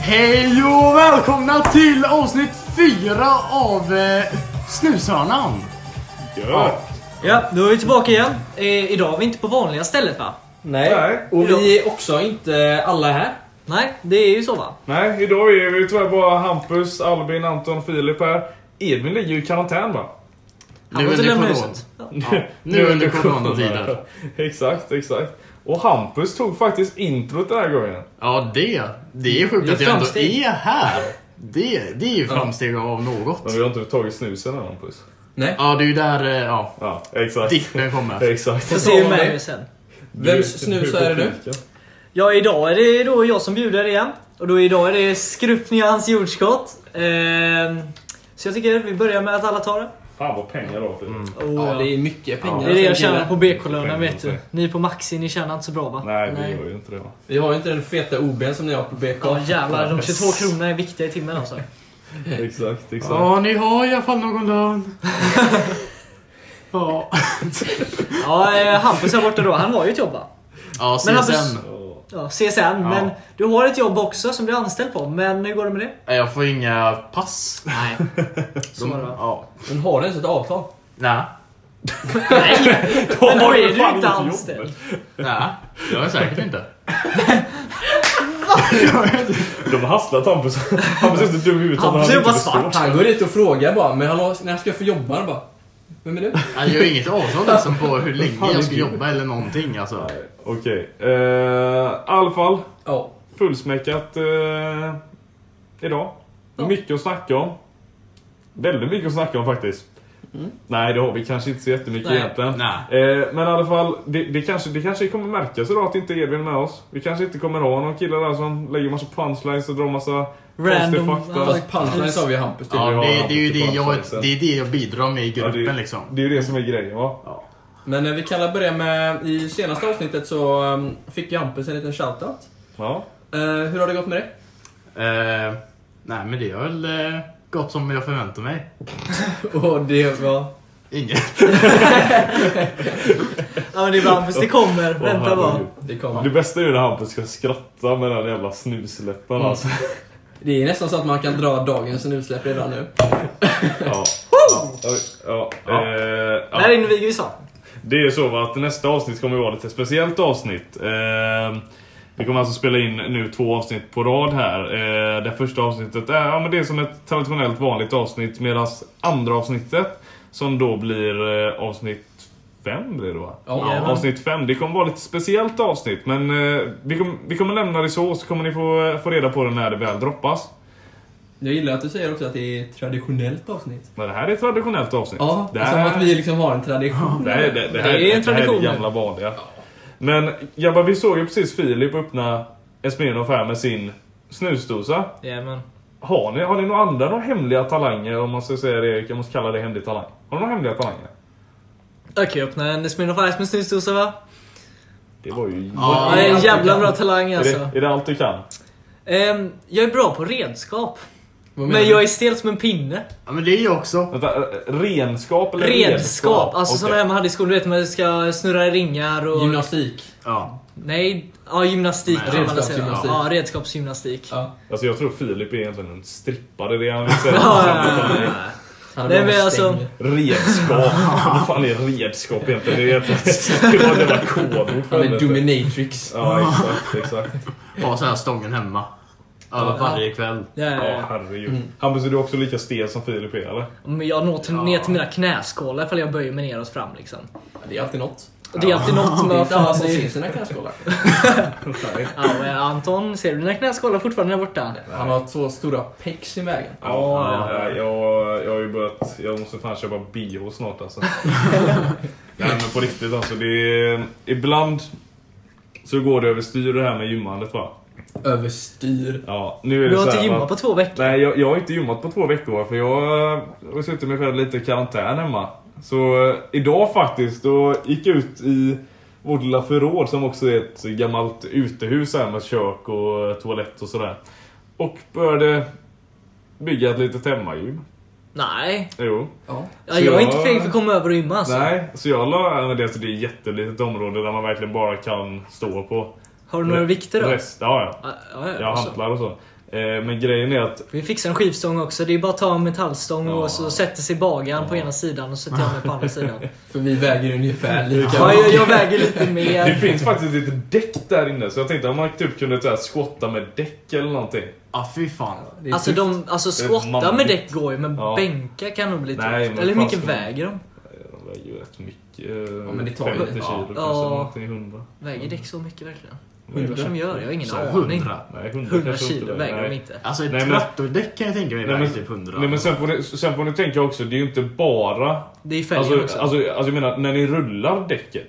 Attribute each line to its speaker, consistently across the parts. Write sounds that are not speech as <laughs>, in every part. Speaker 1: Hej och välkomna till avsnitt 4 av eh, Snushörnan.
Speaker 2: Ja.
Speaker 3: Ja, då är vi tillbaka igen. Eh, idag är vi inte på vanliga stället va?
Speaker 4: Nej.
Speaker 2: Nej.
Speaker 4: Och vi är också inte alla här.
Speaker 3: Nej, det är ju så va?
Speaker 2: Nej, idag är vi ju tyvärr bara Hampus, Albin, Anton, Filip här. Edvin ligger ju i karantän va?
Speaker 3: Han
Speaker 1: Nu
Speaker 3: får inte
Speaker 1: under
Speaker 3: lämna
Speaker 1: corona.
Speaker 3: huset.
Speaker 1: Ja, nu under coronatider.
Speaker 2: <laughs> exakt, exakt. Och Hampus tog faktiskt introt den här gången.
Speaker 1: Ja, det. Det är sjukt
Speaker 4: Det är
Speaker 1: att jag ändå
Speaker 4: framsteg.
Speaker 1: är här. Det, det är ju framsteg av något.
Speaker 2: Men vi har inte tagit snusen än Hampus.
Speaker 4: Nej.
Speaker 1: Ja, det är ju där eh, ja,
Speaker 2: Ja, exakt.
Speaker 1: dippen kommer.
Speaker 2: Exakt.
Speaker 3: Får
Speaker 4: Sa
Speaker 3: se hur
Speaker 4: man
Speaker 3: med
Speaker 4: det?
Speaker 3: mig sen.
Speaker 4: Vems snus är det nu?
Speaker 3: Ja, idag är det då jag som bjuder igen. Och då idag är det Skrupnians jordskott. Eh, så jag tycker vi börjar med att alla tar det.
Speaker 2: Fan vad pengar du har Filip.
Speaker 3: Och,
Speaker 4: Ja, det
Speaker 3: det,
Speaker 4: är mycket pengar.
Speaker 3: är... det jag
Speaker 4: tänker
Speaker 3: tjänar på BK-lönen
Speaker 2: Pengar,
Speaker 3: vet du.
Speaker 2: pengar.
Speaker 3: Ni på Maxi, ni tjänar inte så bra va?
Speaker 2: Nej, vi
Speaker 4: Nej.
Speaker 2: gör ju inte det va.
Speaker 4: Vi har ju inte den feta OB'n som ni har på BK.
Speaker 3: Ja jävlar, de 22 kronorna är viktiga i timmen alltså.
Speaker 2: Exakt, exakt.
Speaker 1: Ja, ni har i alla fall någon lön. Ja,
Speaker 3: Ja, eh, Hampus här borta då, han har ju ett jobb va?
Speaker 1: ja
Speaker 3: Men han-
Speaker 1: CSN.
Speaker 2: Ja.
Speaker 3: Ja, CSN, men du har ett jobb också som du är anställd på. Men hur går det med det?
Speaker 1: Nej, Eh, Jag får inga pass.
Speaker 3: Nej. <laughs> Så var det va?
Speaker 1: Ja.
Speaker 4: Men har du ens ett avtal?
Speaker 1: Nej.
Speaker 3: Men
Speaker 2: <laughs>
Speaker 3: då är du
Speaker 2: fan
Speaker 3: inte
Speaker 2: inte
Speaker 3: anställd.
Speaker 1: Nej, det har jag säkert inte.
Speaker 2: De har hasslat Hampus. <laughs> Hampus är inte dum i huvudet. han
Speaker 3: Hampus
Speaker 2: hade
Speaker 3: är bara
Speaker 2: inte
Speaker 3: svart.
Speaker 2: förstått.
Speaker 4: Han går dit och frågar bara, men hallå, när ska jag få jobba? Han bara, vem är du?
Speaker 1: Jag gör inget avtal liksom på hur länge jag ska jobba eller någonting alltså.
Speaker 2: Okej. Eh, I alla fall.
Speaker 4: Ja.
Speaker 2: Fullsmäckat eh, idag.
Speaker 4: Ja.
Speaker 2: Mycket att snacka om. Väldigt mycket att snacka om faktiskt. Nej, det har vi kanske inte så jättemycket
Speaker 4: Nej.
Speaker 2: egentligen.
Speaker 1: Nej.
Speaker 2: Eh, men i alla fall, det, det, kanske, det kanske kommer märkas idag att inte Edvin är med oss. Vi kanske inte kommer ha någon kille där som lägger massa punchlines och drar massa
Speaker 3: Random-
Speaker 2: konstiga fakta.
Speaker 4: Fast punchlines har vi Hampus till.
Speaker 1: Ja,
Speaker 2: jag
Speaker 1: det,
Speaker 2: har
Speaker 1: det är ju
Speaker 2: haft
Speaker 1: det
Speaker 2: ett par
Speaker 1: jag,
Speaker 2: chanser.
Speaker 1: det är det jag bidrar med i
Speaker 2: Ja,
Speaker 1: gruppen
Speaker 2: det,
Speaker 1: liksom.
Speaker 2: det är ju det som är grejen va?
Speaker 4: Men eh, vi kan väl börja med, i senaste avsnittet så um, fick ju Hampus en liten shoutout.
Speaker 2: Ja.
Speaker 4: Eh, hur har det gått med <laughs> det?
Speaker 1: Eh, nej men det är väl eh, gott som jag förväntar mig.
Speaker 4: Och det var...
Speaker 1: Inget.
Speaker 3: Ja men det är bara Hampus, det kommer.
Speaker 2: Åh,
Speaker 3: Vänta bara.
Speaker 2: herregud.
Speaker 4: Det
Speaker 2: Det
Speaker 4: kommer.
Speaker 2: bästa är ju när Hampus ska skratta med den här jävla snusläppen alltså.
Speaker 4: Det är nästan så att man kan dra dagens snusläpp redan nu.
Speaker 2: Ja. Ja. Ja.
Speaker 1: Ja.
Speaker 2: Eh, ja.
Speaker 3: Där inviger vi Svan.
Speaker 2: Det är så va, att nästa avsnitt kommer vara lite speciellt avsnitt. Eh, vi kommer alltså spela in nu två avsnitt på rad här. Eh, det första avsnittet är, ja, men det är som ett traditionellt vanligt avsnitt medan andra avsnittet som då blir eh, avsnitt fem blir det va?
Speaker 4: Ja.
Speaker 2: avsnitt fem. Det kommer vara lite speciellt avsnitt men eh, vi, kom, vi kommer lämna det så så kommer ni få, få reda på det när det väl droppas.
Speaker 4: Jag gillar att du säger också att det är ett traditionellt avsnitt.
Speaker 2: Men det här är ett traditionellt avsnitt.
Speaker 4: Ja,
Speaker 2: det
Speaker 4: som
Speaker 2: här-
Speaker 4: att vi liksom har en tradition.
Speaker 2: Det, här, det, det, här,
Speaker 3: Det är
Speaker 2: det,
Speaker 3: en
Speaker 2: här är
Speaker 3: tradition.
Speaker 2: det gamla vanliga. Men grabbar, vi såg ju precis Filip öppna en Smirnoff här med sin snusdosa.
Speaker 3: Jajamän.
Speaker 2: Har ni, har ni några andra några hemliga talanger om man ska säga det? Jag måste kalla det hemlig talang. Har ni några hemliga talanger?
Speaker 3: Jag kan ju öppna en Smirnoff Ice med snusdosa va?
Speaker 2: Det var ju...
Speaker 3: Ja,
Speaker 1: Ja,
Speaker 3: det är en
Speaker 4: allt du
Speaker 3: jävla
Speaker 4: kan.
Speaker 3: bra talang
Speaker 2: Är,
Speaker 3: alltså.
Speaker 2: det, är det allt du kan?
Speaker 3: Ehm, jag är bra på redskap.
Speaker 4: Vad menar
Speaker 3: Men
Speaker 4: du?
Speaker 3: jag är stel som en pinne.
Speaker 1: <laughs> ja men det är jag också.
Speaker 2: Vänta, eh, renskap eller
Speaker 3: Redskap! Alltså
Speaker 2: Okej.
Speaker 3: sådana här man hade i skolan, du vet man ska snurra i ringar och...
Speaker 4: Gymnastik.
Speaker 1: Ja.
Speaker 3: Nej, ja gymnastik
Speaker 1: Nej,
Speaker 3: kan man väl säga.
Speaker 4: redskapsgymnastik.
Speaker 3: Ja, redskapsgymnastik.
Speaker 4: Ja.
Speaker 2: Alltså jag tror Filip är egentligen en strippare, det är han vill säga.
Speaker 3: Ja, ja, ja, ja.
Speaker 4: Han
Speaker 3: Nej,
Speaker 4: bara
Speaker 3: men
Speaker 4: en
Speaker 3: alltså-
Speaker 4: stäng.
Speaker 2: Redskap. Vad fan är redskap egentligen? Det är <laughs> egentligen- det var ett jävla kodord.
Speaker 4: Han är dominatrix.
Speaker 2: Ja, exakt, exakt.
Speaker 1: Ha så här stången hemma. Över varje kväll.
Speaker 3: Ja, ja,
Speaker 2: Ja,
Speaker 3: ja.
Speaker 2: herregud. Hampus, är du också lika stel som Filip är eller?
Speaker 3: Men jag når till, ner till mina knäskålar ifall jag böjer mig neråt fram liksom.
Speaker 4: Det är alltid något.
Speaker 3: Och det är alltid något som
Speaker 4: Det är
Speaker 3: jag
Speaker 4: inte alla
Speaker 3: fan...
Speaker 4: som ser
Speaker 3: det-
Speaker 4: sina knäskålar.
Speaker 3: Ja, men Anton, ser du dina knäskålar fortfarande där borta?
Speaker 4: Han har två stora pecs i vägen.
Speaker 2: Ja, nej, jag, jag har ju börjat... Jag måste fan köpa bio snart alltså.
Speaker 3: <laughs>
Speaker 2: nej men på riktigt alltså. Det är, ibland så går det överstyr det här med gymmandet va?
Speaker 4: Överstyr.
Speaker 2: Ja, nu är det
Speaker 3: Du har
Speaker 2: så
Speaker 3: inte
Speaker 2: här, va?
Speaker 3: gymmat på två veckor.
Speaker 2: Nej, jag, jag har inte gymmat på två veckor för jag eh, har suttit mig själv lite i karantän hemma. Så eh, idag faktiskt, då gick jag ut i vårt lilla förråd som också är ett gammalt utehus här med kök och eh, toalett och sådär. Och började bygga ett litet hemmagym.
Speaker 3: Nej.
Speaker 2: Jo.
Speaker 4: Ja.
Speaker 3: Ja,
Speaker 2: Så
Speaker 3: jag är
Speaker 2: jag-
Speaker 3: inte feg för att komma över och gymma alltså.
Speaker 2: Nej, så jag la... men Det, alltså, det är ett jättelitet område där man verkligen bara kan stå på.
Speaker 3: Har du några vikter då?
Speaker 2: Rest, ja, ja.
Speaker 3: Ja, ja,
Speaker 2: Jag
Speaker 3: alltså.
Speaker 2: hantlar och så. Eh, men grejen är att
Speaker 3: Vi fixar en skivstång också. Det är bara att ta en metallstång
Speaker 2: Ja.
Speaker 3: och så sätter sig bagaren på ena sidan och så tar jag mig på
Speaker 2: <laughs>
Speaker 3: andra sidan.
Speaker 4: För vi väger ungefär lika
Speaker 3: Ja, jag,
Speaker 4: mycket.
Speaker 3: jag väger lite
Speaker 2: det
Speaker 3: mer.
Speaker 2: finns faktiskt lite däck där inne. Så jag tänkte om man typ kunde så här, skotta med däck eller någonting.
Speaker 1: Ah, fy fan.
Speaker 4: Det är typ-
Speaker 3: Alltså,
Speaker 4: tufft.
Speaker 3: de, alltså
Speaker 2: Det är
Speaker 3: skotta med
Speaker 2: manligt.
Speaker 3: däck går ju, men
Speaker 2: Ja.
Speaker 3: bänka kan nog bli tufft.
Speaker 2: Nej, men
Speaker 3: Eller hur
Speaker 2: fan
Speaker 3: mycket
Speaker 2: ska man-
Speaker 3: väger de?
Speaker 2: De väger ju rätt mycket. eh,
Speaker 4: Ja, men det tar ju-
Speaker 2: 50 kilo
Speaker 4: ja.
Speaker 2: kanske.
Speaker 3: Ja.
Speaker 2: Någonting 100.
Speaker 3: Väger däck så mycket verkligen?
Speaker 2: Nej,
Speaker 3: Undrar som gör, jag har ingen
Speaker 1: Så
Speaker 3: aning.
Speaker 1: 100.
Speaker 2: Nej, 100,
Speaker 3: 100
Speaker 2: kanske inte
Speaker 3: kilo
Speaker 2: det.
Speaker 3: väger de
Speaker 2: Nej.
Speaker 3: inte.
Speaker 1: Alltså ett
Speaker 2: Nej, men-
Speaker 1: trattordäck kan jag tänka mig
Speaker 2: Nej,
Speaker 1: väger
Speaker 2: men-
Speaker 1: typ 100.
Speaker 2: Nej men sen får, ni, sen får ni tänka också, det är ju inte bara...
Speaker 3: Det är fälgen
Speaker 2: Alltså,
Speaker 3: också.
Speaker 2: alltså, alltså jag menar, när ni rullar däcket.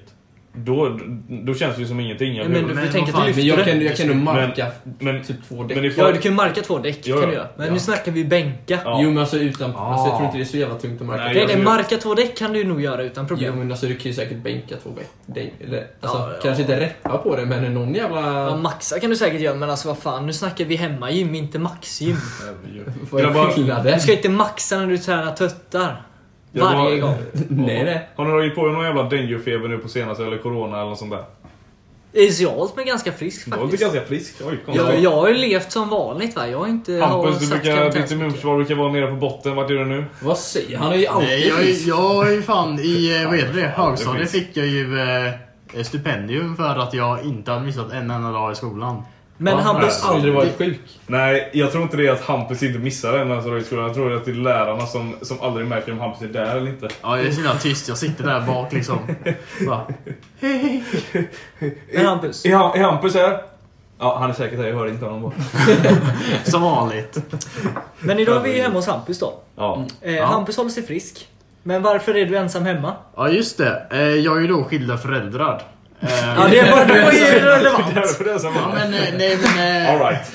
Speaker 2: Då, då känns det ju som ingenting. Jag
Speaker 3: Nej, men
Speaker 2: vet-
Speaker 3: du får
Speaker 1: Men
Speaker 3: ju tänka
Speaker 1: vad fan,
Speaker 3: att du
Speaker 4: Men
Speaker 3: lyfter
Speaker 4: jag
Speaker 3: det.
Speaker 4: kan, jag kan nog marka
Speaker 2: men,
Speaker 4: typ två däck.
Speaker 2: men ni
Speaker 3: Ja,
Speaker 2: får,
Speaker 3: du kan ju marka två däck.
Speaker 2: Ja,
Speaker 3: Kan du
Speaker 2: ja.
Speaker 3: göra. Men
Speaker 4: Ja.
Speaker 3: nu snackar vi bänka.
Speaker 2: Ja.
Speaker 4: Jo men alltså utan... Alltså, jag
Speaker 1: Ah.
Speaker 4: tror inte det är så jävla tungt att marka.
Speaker 2: Nej,
Speaker 3: Nej,
Speaker 2: jag-
Speaker 3: nej,
Speaker 2: jag-
Speaker 3: marka två däck kan du nog göra utan
Speaker 4: Jo
Speaker 3: problem.
Speaker 4: men alltså du kan ju säkert bänka två däck. Däck, eller, Alltså,
Speaker 3: Ja, ja.
Speaker 4: Kanske inte reppa på det men någon jävla...
Speaker 3: Ja, maxa kan du säkert göra, men alltså vad fan, nu snackar vi hemmagym, inte maxgym.
Speaker 4: Vad är
Speaker 2: Grabbar-
Speaker 4: skillnaden?
Speaker 3: Du ska inte maxa när du tränar tuttar.
Speaker 2: Jag bara-
Speaker 3: Varje gång.
Speaker 4: <laughs> Nej nej.
Speaker 2: Har ni dragit på er någon jävla denguefeber nu på senaste, eller corona eller något sånt där?
Speaker 3: Är jag allt men ganska frisk
Speaker 2: Du låter
Speaker 3: faktiskt.
Speaker 2: ganska frisk. Oj, kom.
Speaker 3: Jag, jag har ju levt som vanligt va. Jag har inte har
Speaker 2: Hampus, du
Speaker 3: satt
Speaker 2: brukar,
Speaker 3: karantän
Speaker 2: ditt
Speaker 3: så mycket.
Speaker 2: immunförsvar brukar vara nere på botten. Vart är du nu?
Speaker 4: Vad säger han? Han är ju alltid
Speaker 1: Nej, jag,
Speaker 4: frisk.
Speaker 1: jag är ju fan i, eh, vad heter det, högstadiet
Speaker 2: finns.
Speaker 1: fick jag ju eh, stipendium för att jag inte hade missat en enda dag i skolan.
Speaker 3: Men
Speaker 4: Han har
Speaker 3: Hampus,
Speaker 2: nej. alltså,
Speaker 4: aldrig varit sjuk.
Speaker 2: Nej, jag tror inte det är att Hampus inte missar en när han står i skolan. Jag tror att det är lärarna som, som aldrig märker om Hampus är där eller inte.
Speaker 1: Ja, jag är så himla tyst. Jag sitter där bak liksom. Bara,
Speaker 3: men Hampus.
Speaker 2: Är, han, är Hampus här? Ja, han är säkert här. Jag hör inte honom bara.
Speaker 1: som vanligt.
Speaker 3: Men idag är vi ju hemma hos Hampus då.
Speaker 1: Mm.
Speaker 2: Ja.
Speaker 3: Eh,
Speaker 1: Ja.
Speaker 3: Hampus håller sig frisk. Men varför är du ensam hemma?
Speaker 1: Ja, just det. Eh, Jag är ju då skilda föräldrar. Eh,
Speaker 3: Ja, det var, det var
Speaker 2: <laughs>
Speaker 3: ju
Speaker 2: Det
Speaker 3: relevant.
Speaker 2: är för det som
Speaker 1: Ja, men eh, nej men... eh,
Speaker 2: Alright.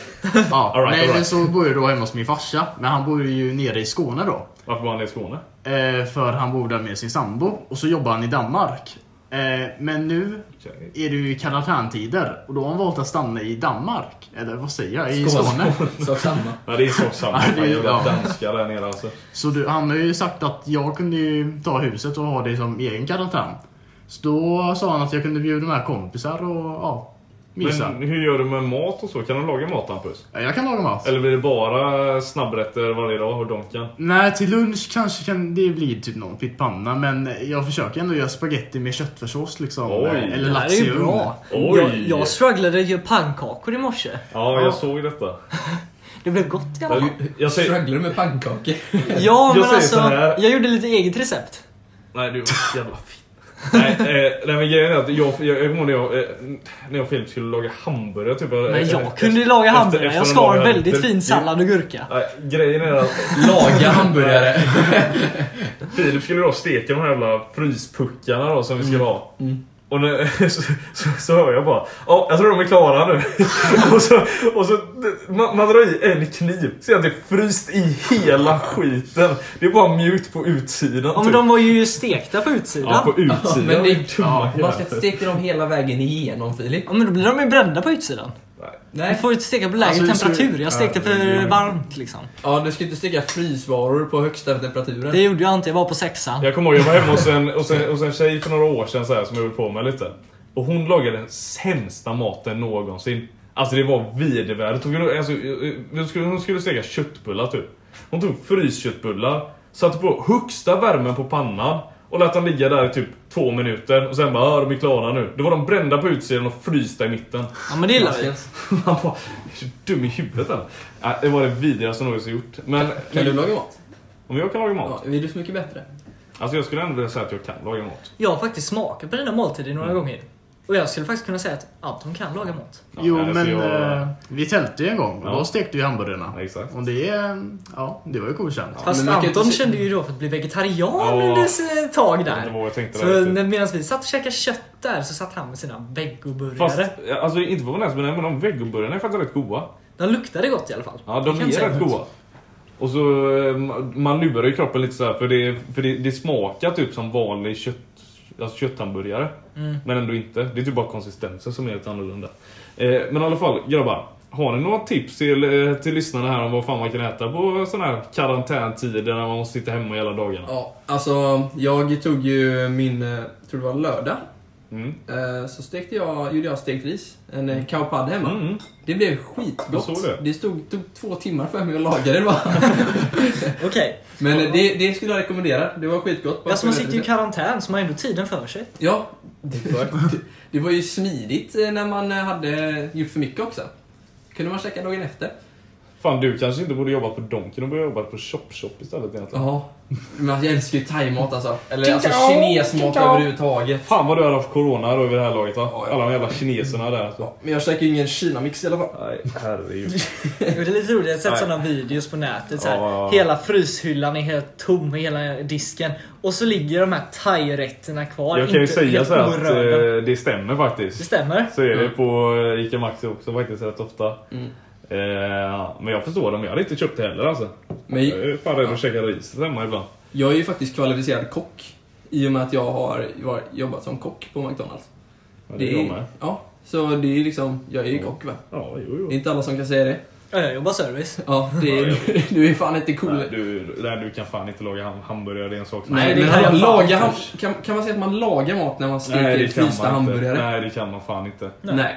Speaker 1: Ja,
Speaker 2: All right,
Speaker 1: nej,
Speaker 2: all right.
Speaker 1: men så bor jag då hemma hos min farsa. Men han bor ju nere i Skåne då.
Speaker 2: Varför var han i Skåne?
Speaker 1: Eh, för han bor där med sin sambo. Och så jobbar han i Danmark. Eh, men nu
Speaker 2: Okej.
Speaker 1: är det ju karantäntider. Och då har han valt att stanna i Danmark. Eller vad säger jag? I
Speaker 4: Skåne.
Speaker 1: Skåne.
Speaker 4: Så samma.
Speaker 2: Ja, det är sak samma.
Speaker 1: Ja, det är-
Speaker 2: Fan, Jävla
Speaker 1: ja.
Speaker 2: danskar där nere alltså.
Speaker 1: Så du, han har ju sagt att jag kunde ju ta huset och ha det som egen karantän. Så då sa han att jag kunde bjuda med kompisar och ja, mysa.
Speaker 2: Men hur gör du med mat och så? Kan du laga mat Hampus?
Speaker 1: Ja, jag kan laga mat.
Speaker 2: Eller blir det bara snabbrätter varje dag och donken?
Speaker 1: Nej, till lunch kanske kan det blir typ någon pyttipanna men jag försöker ändå göra spaghetti med köttfärssås liksom.
Speaker 2: Oj.
Speaker 1: Eller
Speaker 3: Det här är ju
Speaker 1: laxigugn.
Speaker 3: bra.
Speaker 2: Oj.
Speaker 3: Jag, jag strugglade ju pannkakor i morse.
Speaker 2: Ja,
Speaker 1: Ja.
Speaker 2: jag såg detta.
Speaker 3: Det blev gott i alla fall.
Speaker 2: Jag, jag säger...
Speaker 4: Strugglar du med pannkakor?
Speaker 3: Ja, men
Speaker 2: säger
Speaker 3: alltså.
Speaker 2: så här.
Speaker 3: Jag gjorde lite eget recept.
Speaker 2: Nej,
Speaker 3: <laughs>
Speaker 2: du jävla fin. <laughs> nej, eh, nej men grejen är att jag, jag, jag kommer ihåg när jag, eh, när jag Filip skulle laga hamburgare typ.
Speaker 3: Men
Speaker 2: eh,
Speaker 3: jag kunde ju laga
Speaker 2: efter-
Speaker 3: hamburgare.
Speaker 2: efter
Speaker 3: Jag
Speaker 2: de
Speaker 3: skar
Speaker 2: lagar-
Speaker 3: väldigt
Speaker 2: det-
Speaker 3: fin sallad och gurka.
Speaker 2: Nej, grejen är att
Speaker 4: Laga hamburgare.
Speaker 2: Filip skulle då steka de här jävla fryspuckarna då som vi
Speaker 3: Mm.
Speaker 2: skulle ha. Och när, <laughs> så, så, så hör jag bara Ja, jag tror de är klara nu. <laughs> och så, och så man, man drar i en kniv, ser att det är fryst i hela skiten. Det är bara mjukt på utsidan
Speaker 3: Ja, men de var ju stekta på utsidan.
Speaker 2: typ. Ja,
Speaker 3: Ja,
Speaker 2: på utsidan.
Speaker 4: Men det-
Speaker 2: dumma
Speaker 4: Man ska
Speaker 2: jävel.
Speaker 4: inte steka dem hela vägen igenom Filip.
Speaker 3: men då blir de ju brända på utsidan. Du
Speaker 4: Nej.
Speaker 3: får ju inte steka på lägre
Speaker 1: Alltså, det ser-
Speaker 3: temperatur. Jag stekte
Speaker 2: Ja,
Speaker 3: för
Speaker 2: det-
Speaker 3: varmt liksom.
Speaker 4: Ja, du ska inte steka frysvaror på högsta temperaturen.
Speaker 3: Det gjorde jag inte. Jag var på sexan.
Speaker 2: Jag kommer ihåg, jag var hemma hos en, hos en, hos en tjej för några år sedan så här, som jag höll på med lite. Och hon lagade den sämsta maten någonsin. Alltså det var vedervärdigt. Hon, kunde- alltså, hon, skulle, hon skulle steka köttbullar typ. Hon tog frysköttbullar, satte på högsta värmen på pannan och lät dem ligga där i typ två minuter och sen bara "Ah, de är klara nu. Då var de brända på utsidan och frysta i mitten. <laughs>
Speaker 3: Ja, men det gillar vi.
Speaker 2: Man bara, är så dum i huvudet eller? Nej, Det var det vidrigaste jag någonsin gjort. Men,
Speaker 4: Kan du laga mat?
Speaker 2: om jag kan laga mat?
Speaker 4: Ja, är du så mycket bättre?
Speaker 2: Alltså jag skulle ändå vilja säga att jag kan laga mat.
Speaker 3: Jag har faktiskt smakat på dina måltider några gånger. Och jag skulle faktiskt kunna säga att Anton kan laga mat.
Speaker 1: Jo
Speaker 2: Mm. Ja, alltså
Speaker 1: men
Speaker 2: jag-
Speaker 1: eh, vi tältade ju en gång och
Speaker 2: Ja.
Speaker 1: då stekte vi hamburgarna.
Speaker 2: Ja, exakt.
Speaker 1: Och det, eh, ja, det var ju godkänt.
Speaker 3: Fast
Speaker 4: men man kan ju
Speaker 3: Anton
Speaker 4: inte se-
Speaker 3: kände ju då för att bli vegetarian
Speaker 2: Ja.
Speaker 3: under ett tag
Speaker 2: Jag vet inte
Speaker 3: där.
Speaker 2: vad jag tänkte där
Speaker 3: Så
Speaker 2: riktigt.
Speaker 3: medan vi satt och käkade kött där så satt han med sina
Speaker 2: Fast,
Speaker 3: vegoburgare.
Speaker 2: alltså inte för att vara näs, men men de vegoburgarna är faktiskt rätt goda.
Speaker 3: De luktade gott i alla fall.
Speaker 2: Ja,
Speaker 3: Det
Speaker 2: de
Speaker 3: kan jag
Speaker 2: är
Speaker 3: säga.
Speaker 2: rätt goda. Och så, eh, man lurar ju kroppen lite så här för det, för det, det smakar typ som vanlig kött, alltså kötthamburgare.
Speaker 3: Mm.
Speaker 2: Men ändå inte. Det är typ bara konsistensen som är lite annorlunda. Eh, men i alla fall, grabbar. Har ni några tips till, eh, till lyssnarna här om vad fan man kan äta på sådana här karantäntider när man måste sitta hemma hela dagarna?
Speaker 4: Ja, alltså jag tog ju min, eh, tror det var lördag,
Speaker 2: Mm.
Speaker 4: Eh, Så stekte jag, gjorde jag stekt ris. En eh, cow pad hemma.
Speaker 2: Mm.
Speaker 4: Det blev skitgott.
Speaker 2: Jag såg det.
Speaker 4: stod, tog två timmar för mig att laga det bara.
Speaker 3: Okej.
Speaker 4: Men eh, det, det skulle jag rekommendera. Det var skitgott. Bara
Speaker 3: Alltså man
Speaker 4: för-
Speaker 3: sitter ju i karantän så man har ändå tiden för sig.
Speaker 4: Ja. Det, det var ju smidigt eh, när man eh, hade gjort för mycket också. kunde man käka dagen efter.
Speaker 2: Fan, du kanske inte borde jobba på Donken, du borde jobba på Chop Chop istället egentligen.
Speaker 4: Ja. Men jag älskar ju thaimat alltså. Eller alltså kinesmat överhuvudtaget.
Speaker 2: Fan vad du har haft corona då vid det här laget va?
Speaker 4: Ja, ja.
Speaker 2: Alla de jävla kineserna där. alltså. Så.
Speaker 4: Ja, men jag käkar ju ingen Kina-mix i alla fall.
Speaker 2: Nej, herregud.
Speaker 3: Jo, Det är lite roligt, jag har sett
Speaker 2: Nej.
Speaker 3: sådana videos på nätet. Så här.
Speaker 2: Ja, ja, ja.
Speaker 3: Hela fryshyllan är helt tom, hela disken. Och så ligger de här thai-rätterna kvar.
Speaker 2: Jag kan ju
Speaker 3: inte
Speaker 2: säga
Speaker 3: helt
Speaker 2: så här att
Speaker 3: orörda.
Speaker 2: eh, det stämmer
Speaker 3: Det
Speaker 2: faktiskt.
Speaker 3: stämmer.
Speaker 2: Så är det på eh, Ica Maxi också faktiskt rätt ofta. Eh, men jag förstår dem, jag hade inte köpt det heller alltså.
Speaker 4: Men
Speaker 2: Jag är fan rädd att käka ris hemma ibland.
Speaker 4: jag är ju faktiskt kvalificerad kock. I och med att jag har var- jobbat som kock på McDonalds.
Speaker 2: Men det är jag med.
Speaker 4: Ja, så det är ju liksom, jag är ju kock va.
Speaker 2: Ja, jo,
Speaker 4: Det är
Speaker 2: jo.
Speaker 4: inte alla som kan säga det.
Speaker 3: Ja, jag jobbar service.
Speaker 4: Ja, det
Speaker 2: Ja,
Speaker 4: är, <laughs> du är fan inte cool.
Speaker 2: Nej, du, nej, du kan fan inte laga ham- hamburgare, det är en sak som...
Speaker 3: Nej,
Speaker 4: Nej,
Speaker 3: det
Speaker 4: men
Speaker 3: kan
Speaker 4: han
Speaker 3: jag fan
Speaker 4: lagar
Speaker 3: inte.
Speaker 4: han, kan, kan man säga att man lagar mat när man
Speaker 2: Nej,
Speaker 4: steker
Speaker 2: det kan
Speaker 4: frysta
Speaker 2: man inte.
Speaker 4: hamburgare?
Speaker 2: Nej, det kan man fan inte.
Speaker 4: Nej.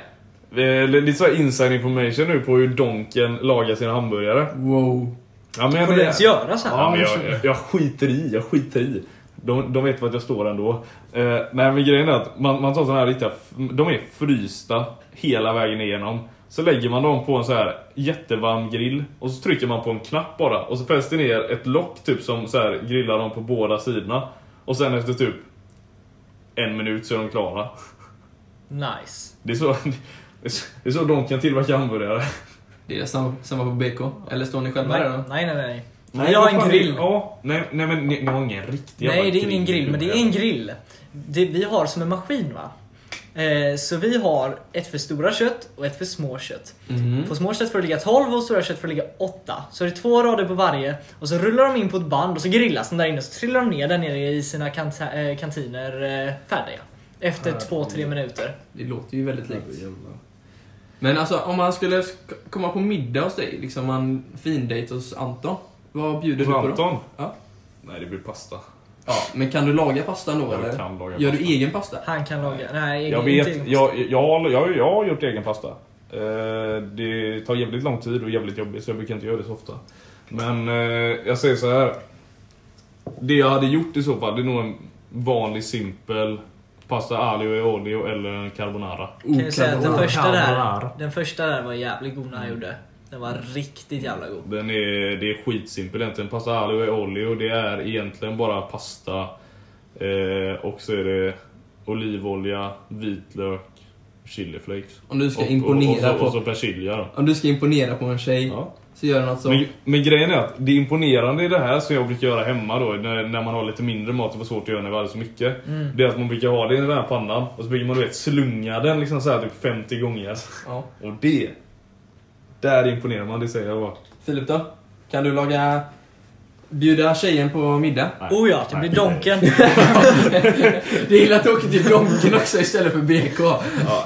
Speaker 2: Eh, Lite så här inside information nu på hur Donken lagar sina hamburgare.
Speaker 4: Wow.
Speaker 2: Ja, men,
Speaker 3: Får du ens göra så här?
Speaker 2: Ja, men jag, jag skiter i, jag skiter i. De, de vet vart jag står ändå. Eh, nej men grejen är att man, man tar såna här riktiga, f- de är frysta hela vägen igenom. Så lägger man dem på en så här jättevarm grill och så trycker man på en knapp bara och så fälls det ner ett lock typ som så här grillar dem på båda sidorna. Och sen efter typ en minut så är de klara.
Speaker 3: Nice.
Speaker 2: Det är så, <laughs> det är så, det är så de kan tillverka hamburgare.
Speaker 4: Det är samma, samma på BK. Eller står ni själva
Speaker 3: Nej,
Speaker 4: där då?
Speaker 3: nej, nej. nej. jag har
Speaker 2: vad
Speaker 3: en
Speaker 2: fan,
Speaker 3: grill.
Speaker 2: det- Ja, nej, nej men ni, ni har ingen riktig jävla
Speaker 3: Nej, det är ingen grill, men det är en grill. Det vi har som en maskin va. Eh, så vi har ett för stora kött och ett för små kött.
Speaker 4: Mm.
Speaker 2: Mm.
Speaker 3: På små kött får det ligga 12 och stora kött får det ligga 8. Så det är två rader på varje och så rullar de in på ett band och så grillas de där inne och så trillar de ner där nere i sina kant- eh, kantiner eh, färdiga.
Speaker 2: Ah,
Speaker 3: Efter 2-3 minuter.
Speaker 4: Det låter ju väldigt likt. Men alltså om man skulle sk- komma på middag hos dig, liksom en findejt hos Anton. Vad bjuder du på då?
Speaker 2: Anton?
Speaker 4: Ja.
Speaker 2: Nej, det blir pasta.
Speaker 4: ja. Men kan du laga pastan då
Speaker 2: Jag
Speaker 4: eller?
Speaker 2: kan laga
Speaker 4: Gör
Speaker 2: pasta.
Speaker 4: du egen pasta?
Speaker 3: Han kan laga... Nej,
Speaker 2: Jag
Speaker 3: inte
Speaker 2: vet,
Speaker 3: egen-
Speaker 2: jag, jag, jag, jag har gjort egen pasta. Eh, Det tar jävligt lång tid och är jävligt jobbigt så jag brukar inte göra det så ofta. Men eh, jag säger så här. Det jag hade gjort i så fall, det är nog en vanlig simpel pasta aglio e olio eller en carbonara.
Speaker 3: Kan jag säga att den
Speaker 1: Carbonara.
Speaker 3: första där,
Speaker 1: Carbonara.
Speaker 3: den första där var jävligt god när han gjorde. Den var riktigt jävla god.
Speaker 2: Den är, det är skitsimpel egentligen. Pasta aglio e olio, det är egentligen bara pasta. Eh, och så är det olivolja, vitlök, chiliflakes.
Speaker 4: Om du ska
Speaker 2: Och- och-
Speaker 4: imponera
Speaker 2: och, så, och så
Speaker 4: på...
Speaker 2: persilja då.
Speaker 4: Om du ska imponera på en tjej,
Speaker 2: Ja.
Speaker 4: så gör alltså- du något så...
Speaker 2: Men, men grejen är att det imponerande i det här som jag brukar göra hemma då, när, när man har lite mindre mat, det var svårt att göra när vi hade så mycket.
Speaker 4: Mm.
Speaker 2: Det är att man brukar ha det i den här pannan och så brukar man du vet slunga den liksom så här typ 50 gånger. <laughs>
Speaker 4: Ja.
Speaker 2: Och det, där imponerar man, det säger jag bara.
Speaker 4: Filip då? Kan du laga... Bjuda tjejen på middag?
Speaker 2: Nej.
Speaker 3: Oh ja, det blir
Speaker 2: Nej. <laughs>
Speaker 3: Donken.
Speaker 4: Det gillar att du åker till Donken också istället för BK.
Speaker 2: Ja,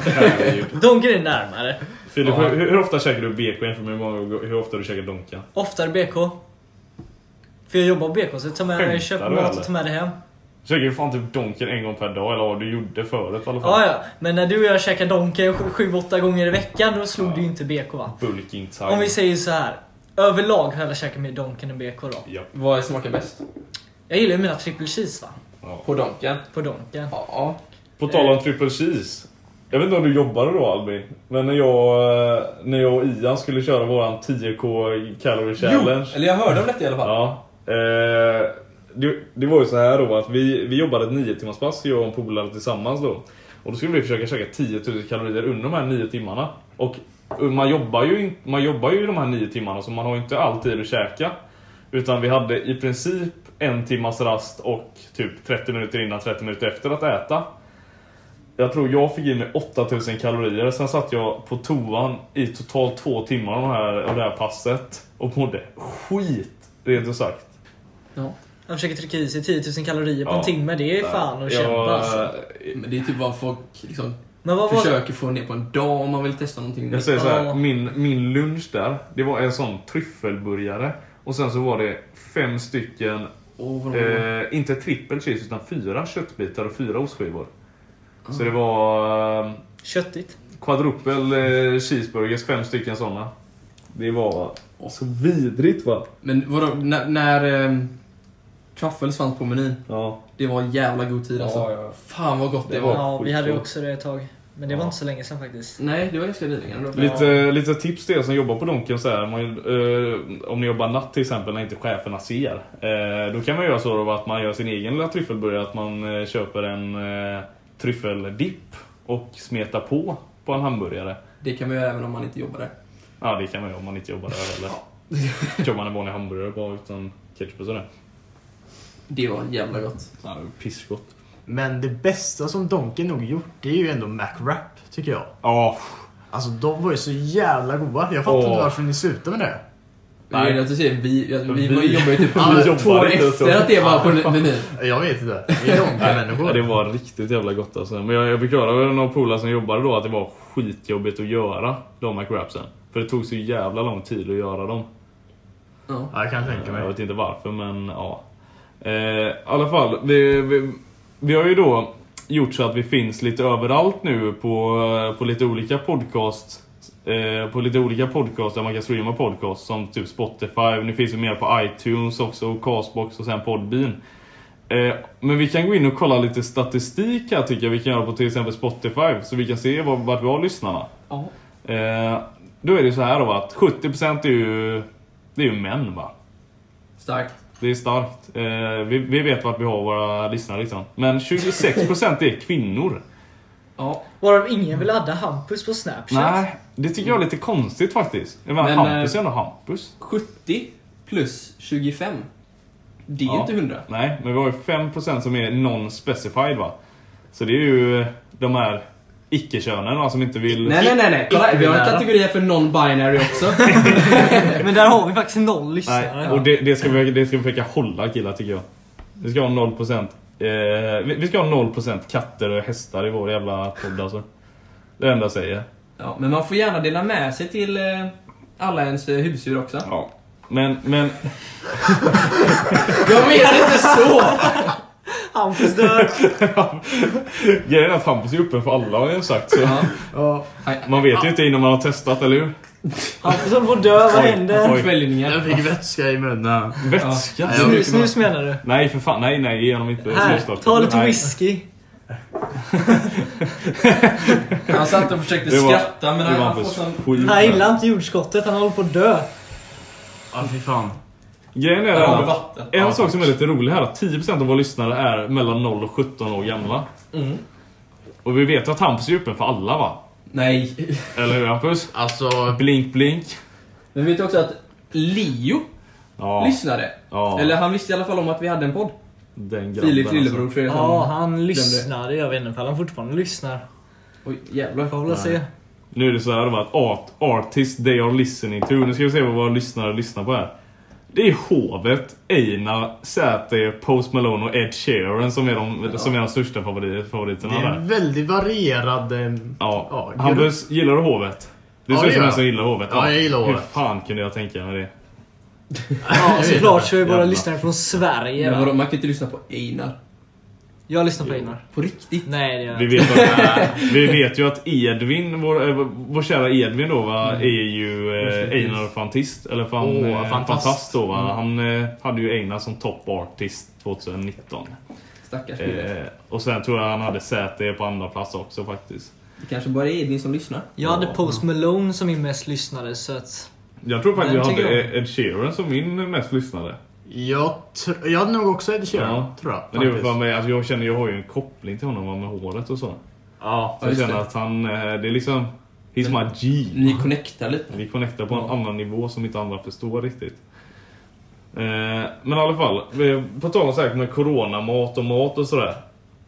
Speaker 2: herregud.
Speaker 3: Donken är närmare.
Speaker 2: Filip,
Speaker 4: Ja.
Speaker 2: hur, hur ofta käkar du BK jämfört med hur, många, hur ofta du käkar Donka?
Speaker 3: Oftare BK. För jag jobbar på BK så jag tar med, jag köper
Speaker 2: Skämtar du,
Speaker 3: mat och
Speaker 2: eller?
Speaker 3: tar med det hem.
Speaker 2: Käkar du fan typ Donken en gång per dag, eller vad du gjorde förut i alla fall?
Speaker 3: Ja, ja. Men när du och jag käkar Donken 7-8 gånger i veckan då slog du ju inte BK va?
Speaker 2: Bulking time.
Speaker 3: Om vi säger så här. Överlag har jag hellre käkat mer Donken än BK då.
Speaker 2: ja.
Speaker 4: Vad smakar bäst?
Speaker 3: Jag gillar ju mina triple cheese va?
Speaker 2: ja.
Speaker 4: På Donken?
Speaker 3: På Donken.
Speaker 4: Ja.
Speaker 2: På tal om triple cheese. Jag vet inte om du jobbade då Albin, men när jag, eh, när jag och Ian skulle köra våran 10k calorie challenge.
Speaker 4: eller jag hörde om detta i alla fall.
Speaker 2: Ja. Eh, det, det var ju så här då att vi, vi jobbade ett 9 timmars pass, jag och en polare tillsammans då. Och då skulle vi försöka käka 10 000 kalorier under de här 9 timmarna. Och och man jobbar ju, in- man jobbar ju de här 9 timmarna så man har ju inte all tid att käka. Utan vi hade i princip en timmas rast och typ 30 minuter innan, 30 minuter efter att äta. Jag tror jag fick i mig 8000 kalorier, sen satt jag på toan i totalt två timmar av det här, av det här passet och mådde skit, rent ut sagt.
Speaker 3: Jag försöker trycka i sig 10 000 kalorier på en
Speaker 2: Ja.
Speaker 3: timme. Det är fan att kämpa
Speaker 2: jag,
Speaker 3: alltså.
Speaker 4: Men det är typ vad folk liksom
Speaker 3: Men vad var det?
Speaker 4: försöker få ner på en dag om man vill testa någonting
Speaker 2: jag
Speaker 4: nytt.
Speaker 2: säger så här,
Speaker 3: Ja.
Speaker 2: min, min lunch där, det var en sån tryffelburgare och sen så var det fem stycken,
Speaker 4: Åh, vad de-
Speaker 2: eh, inte trippel cheese utan fyra köttbitar och fyra ostskivor. Så det var eh,
Speaker 3: Köttigt.
Speaker 2: quadrupel eh, cheeseburgers, fem stycken sådana. Det var så vidrigt va?
Speaker 4: Men vadå, när, när um, truffles fanns på menyn,
Speaker 2: Ja.
Speaker 4: det var en jävla god tid alltså.
Speaker 2: Ja, ja.
Speaker 4: Fan vad gott det,
Speaker 2: Det
Speaker 4: var.
Speaker 2: var-
Speaker 3: Ja, vi hade ju
Speaker 2: skitbra.
Speaker 3: också det ett tag. Men det var
Speaker 2: Ja.
Speaker 3: inte så länge sedan faktiskt.
Speaker 4: Nej, det var ganska nyligen. Det var-
Speaker 2: Lite, lite tips till er som jobbar på Donken så här, man, eh, Om ni jobbar natt till exempel när inte cheferna ser. Eh, då kan man göra så då att man gör sin egen lilla tryffelburgare. Att man eh, köper en eh, tryffeldipp och smetar på på en hamburgare.
Speaker 4: Det kan man göra även om man inte jobbar där.
Speaker 2: Ja det kan man göra om man inte jobbar där eller jobbar man en vanlig hamburgare bara utan ketchup och sådär.
Speaker 4: Det var jävla gott.
Speaker 2: Ja, det är pissgott.
Speaker 1: Men det bästa som Donken nog gjort, det är ju ändå MacWrap, tycker jag.
Speaker 2: Ja,
Speaker 1: Alltså de var ju så jävla goda. Jag fattar
Speaker 2: Åh.
Speaker 1: inte varför ni slutade med det.
Speaker 4: Nej.
Speaker 2: Nej.
Speaker 4: Jag vill säga, vi, jag- vi,
Speaker 2: Vi-
Speaker 4: var jobbade ju typ
Speaker 2: Ja, <laughs> vi
Speaker 4: två
Speaker 2: jobbade
Speaker 4: år
Speaker 2: inte så.
Speaker 4: efter att det
Speaker 2: <laughs>
Speaker 4: var på menyn.
Speaker 1: Jag vet inte. Vi är
Speaker 2: Ja, det
Speaker 1: Donken-människor.
Speaker 2: var riktigt jävla gott alltså. Men jag, jag fick höra av några polare som jobbade då att det var skitjobbigt att göra de McWrapsen. För det tog så jävla lång tid att göra dem.
Speaker 4: Ja.
Speaker 1: Ja, jag kan tänka
Speaker 2: Jag
Speaker 1: mig.
Speaker 2: vet inte varför men ja. Eh, I alla fall, vi, vi, vi har ju då gjort så att vi finns lite överallt nu på, eh, på lite olika podcast. Eh, på lite olika podcast där man kan streama podcast som typ Spotify, nu finns vi mer på iTunes också, och Castbox och sen Podbean. Eh, men vi kan gå in och kolla lite statistik här tycker jag vi kan göra på till exempel Spotify så vi kan se var- vart vi har lyssnarna.
Speaker 4: Ja.
Speaker 2: Eh, då är det så här då att 70% är ju, det är ju män va?
Speaker 4: Starkt.
Speaker 2: Det är starkt. Eh, vi, vi vet vart vi har våra lyssnare liksom. Men 26% är kvinnor.
Speaker 4: Ja.
Speaker 3: Varav ingen vill adda Hampus på Snapchat.
Speaker 2: Nej, det tycker jag är lite konstigt faktiskt. Jag menar,
Speaker 4: Men,
Speaker 2: Hampus
Speaker 4: eh,
Speaker 2: är ändå Hampus.
Speaker 4: 70 plus 25. Det är
Speaker 2: Ja.
Speaker 4: inte 100.
Speaker 2: Nej, men vi har ju 5% som är non-specified va? Så det är ju eh, de här icke-könen va, som inte vill...
Speaker 4: Nej, nej, nej. nej. Kolla, här, vi har en
Speaker 1: Icke-binära.
Speaker 4: kategori för non-binary också.
Speaker 2: <laughs>
Speaker 3: <laughs> Men där har vi faktiskt noll lyssnare.
Speaker 2: Nej, och det, det, ska vi, det ska vi försöka hålla killar tycker jag. Vi ska ha 0% eh, vi, vi ska ha 0% katter och hästar i vår jävla podd alltså. Det är det enda jag säger.
Speaker 4: Ja, men man får gärna dela med sig till eh, alla ens eh, husdjur
Speaker 2: <laughs>
Speaker 4: också.
Speaker 2: Ja. Men, men
Speaker 4: Jag menar inte så!
Speaker 3: Hampus dör.
Speaker 2: Grejen är att Hampus är öppen för alla har jag sagt. Så
Speaker 4: Ja.
Speaker 1: Ja,
Speaker 2: man vet ju inte innan man har testat, eller hur?
Speaker 3: Hampus håller på att dö, vad
Speaker 2: Oj,
Speaker 3: händer?
Speaker 2: oj.
Speaker 4: Kvällningar.
Speaker 1: jag fick vätska i munnen.
Speaker 2: Vätska?
Speaker 1: Ja.
Speaker 3: Snus, snus menar du?
Speaker 2: Nej för fan, nej nej ge honom inte
Speaker 3: Här,
Speaker 2: snusdosan.
Speaker 3: ta lite
Speaker 2: Nej.
Speaker 3: whisky.
Speaker 4: Han satt och försökte
Speaker 2: Det var-
Speaker 4: skratta men
Speaker 2: Det
Speaker 4: han,
Speaker 2: var
Speaker 4: han får
Speaker 2: Hampus
Speaker 4: sån...
Speaker 2: skit.
Speaker 3: Han gillar inte jordskottet, han håller på att dö.
Speaker 1: Ja, fy fan.
Speaker 2: Grejen är
Speaker 4: Ja,
Speaker 2: att
Speaker 4: vatten.
Speaker 2: en sak som är lite rolig här, att 10% av våra lyssnare är mellan 0 och 17 år gamla.
Speaker 4: Mm.
Speaker 2: Och vi vet att Hampus är öppen för alla va?
Speaker 4: Nej.
Speaker 2: Eller hur Hampus?
Speaker 1: Alltså,
Speaker 2: Blink blink.
Speaker 4: Men vet du också att Leo
Speaker 2: Ja,
Speaker 4: lyssnade?
Speaker 2: Ja.
Speaker 4: Eller han visste i alla fall om att vi hade en podd.
Speaker 2: den grabben alltså.
Speaker 4: Filips lillebror tror jag som-
Speaker 3: Ja, han lyssnar. Jag vet inte om han
Speaker 2: <laughs>
Speaker 3: fortfarande lyssnar.
Speaker 4: Oj, jävlar.
Speaker 3: Får väl se.
Speaker 2: Nu är det så här då, att art, artist they are listening to. Nu ska vi se vad våra lyssnare lyssnar på här. Det är Hovet, Einar, Säter, Post Malone och Ed Sheeran som är de, som är de största favori-
Speaker 1: det
Speaker 2: favoriterna
Speaker 1: är en
Speaker 2: där.
Speaker 1: väldigt varierad... eh,
Speaker 2: Ja.
Speaker 1: ja,
Speaker 2: Hampus, gillar du Hovet? Du
Speaker 1: Ja,
Speaker 2: ser
Speaker 1: det
Speaker 2: ut som
Speaker 1: gör
Speaker 2: en som
Speaker 1: jag.
Speaker 2: gillar Hovet.
Speaker 1: Ja, jag gillar
Speaker 2: Hur
Speaker 1: Hovet.
Speaker 2: fan kunde jag tänka mig det?
Speaker 3: Ja, såklart så är vi bara
Speaker 2: Jävlar.
Speaker 3: lyssnare från Sverige.
Speaker 4: Men
Speaker 3: va?
Speaker 4: vadå, man kan inte lyssna på Einar.
Speaker 3: Jag lyssnar på Einar.
Speaker 4: På riktigt.
Speaker 3: Nej, det gör jag
Speaker 2: Vi
Speaker 3: inte.
Speaker 2: vet,
Speaker 1: <laughs>
Speaker 2: vi vet ju att Edvin, vår, eh, vår kära Edvin då va,
Speaker 1: Mm.
Speaker 2: är ju eh, Einar Fantist. Eller fan,
Speaker 1: Åh, Mm.
Speaker 2: eh,
Speaker 1: fantast.
Speaker 2: fantast då va. Han eh, hade ju Einar som top artist 2019.
Speaker 4: Stackars kille.
Speaker 2: Eh, och sen tror jag han hade Säter på andra plats också faktiskt.
Speaker 4: Det kanske bara är Edvin som lyssnar.
Speaker 3: Jag hade Post Malone som min mest lyssnade, så att...
Speaker 2: Jag tror faktiskt
Speaker 3: Men
Speaker 2: jag
Speaker 3: tycker
Speaker 2: hade
Speaker 3: jag-
Speaker 2: Ed Sheeran som min mest lyssnade.
Speaker 1: Jag, tr- jag hade nog också Ed Sheeran,
Speaker 2: Ja.
Speaker 1: tror jag.
Speaker 2: Men det är väl
Speaker 1: faktiskt.
Speaker 2: för mig, alltså jag känner jag har ju en koppling till honom va, med håret och så.
Speaker 1: Ja.
Speaker 4: Ja,
Speaker 2: Så jag
Speaker 4: just
Speaker 2: känner
Speaker 4: det.
Speaker 2: att han, eh, det är liksom, he's my G.
Speaker 4: Ni connectar lite.
Speaker 2: Vi connectar på en annan nivå som inte andra förstår riktigt. Eh, men i alla fall, vi- på tal om så här med coronamat och mat och sådär.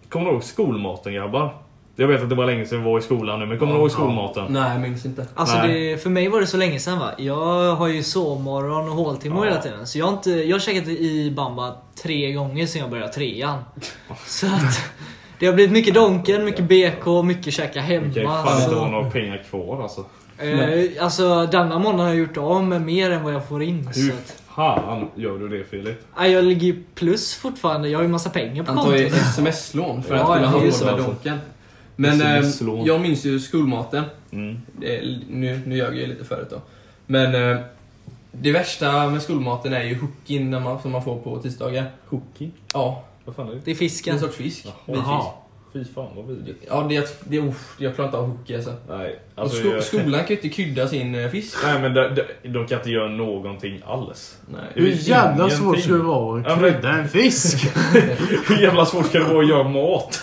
Speaker 2: Kommer du ihåg skolmaten grabbar? Jag vet att det var länge sedan vi var i skolan nu, men kommer du ihåg skolmaten?
Speaker 4: Nej, jag minns inte.
Speaker 3: Alltså
Speaker 2: Nej.
Speaker 3: det, för mig var det så länge sedan va. Jag har ju sovmorgon och håltimmar
Speaker 2: Ja.
Speaker 3: hela tiden. Så jag har, inte, jag har käkat i Bamba tre gånger sedan jag
Speaker 2: <laughs>
Speaker 3: började trean. Så att det har blivit mycket Donken, mycket BK, mycket käka
Speaker 2: Vi kan ju
Speaker 3: hemma.
Speaker 2: fan inte ha
Speaker 3: Så,
Speaker 2: några pengar kvar alltså.
Speaker 3: eh, alltså denna månad har jag gjort av med mer än vad jag får in. Så
Speaker 2: Hur
Speaker 3: att,
Speaker 2: fan gör du det Filip?
Speaker 3: nej, jag ligger ju plus fortfarande. Jag har ju massa pengar på
Speaker 4: Han tar ju
Speaker 3: kontot.
Speaker 4: sms-lån för
Speaker 3: Ja,
Speaker 4: att kunna
Speaker 3: det
Speaker 4: ha
Speaker 3: är ju
Speaker 4: råd
Speaker 3: så.
Speaker 4: med Donken. Men
Speaker 2: Det är så
Speaker 4: eh,
Speaker 2: misslån.
Speaker 4: jag minns ju skolmaten.
Speaker 2: Mm.
Speaker 4: Det är, nu, nu ljög jag ju lite förut då. Men eh, det värsta med skolmaten är ju hookin när man, som man får på tisdagar.
Speaker 2: Cookie?
Speaker 4: Ja,
Speaker 2: Vad fan är det?
Speaker 3: Det är
Speaker 4: det är en
Speaker 3: fisken.
Speaker 4: sorts fisk. Vit
Speaker 1: Jaha.
Speaker 4: fisk.
Speaker 2: Fy fan vad vidrigt.
Speaker 4: Ja, det, är- det, är- uff, jag klarar inte av hookie alltså.
Speaker 2: Nej,
Speaker 4: Och
Speaker 2: alltså...
Speaker 4: sko,
Speaker 2: jag-
Speaker 4: Skolan kan ju inte krydda sin eh, fisk.
Speaker 2: Nej men de, de, de kan inte göra någonting alls.
Speaker 4: Nej.
Speaker 1: Hur jävla
Speaker 2: Ingenting.
Speaker 1: svårt skulle det vara
Speaker 2: Ja,
Speaker 1: att
Speaker 2: men-
Speaker 1: krydda en
Speaker 2: <laughs>
Speaker 1: fisk?
Speaker 2: Hur jävla svårt ska det vara att göra mat?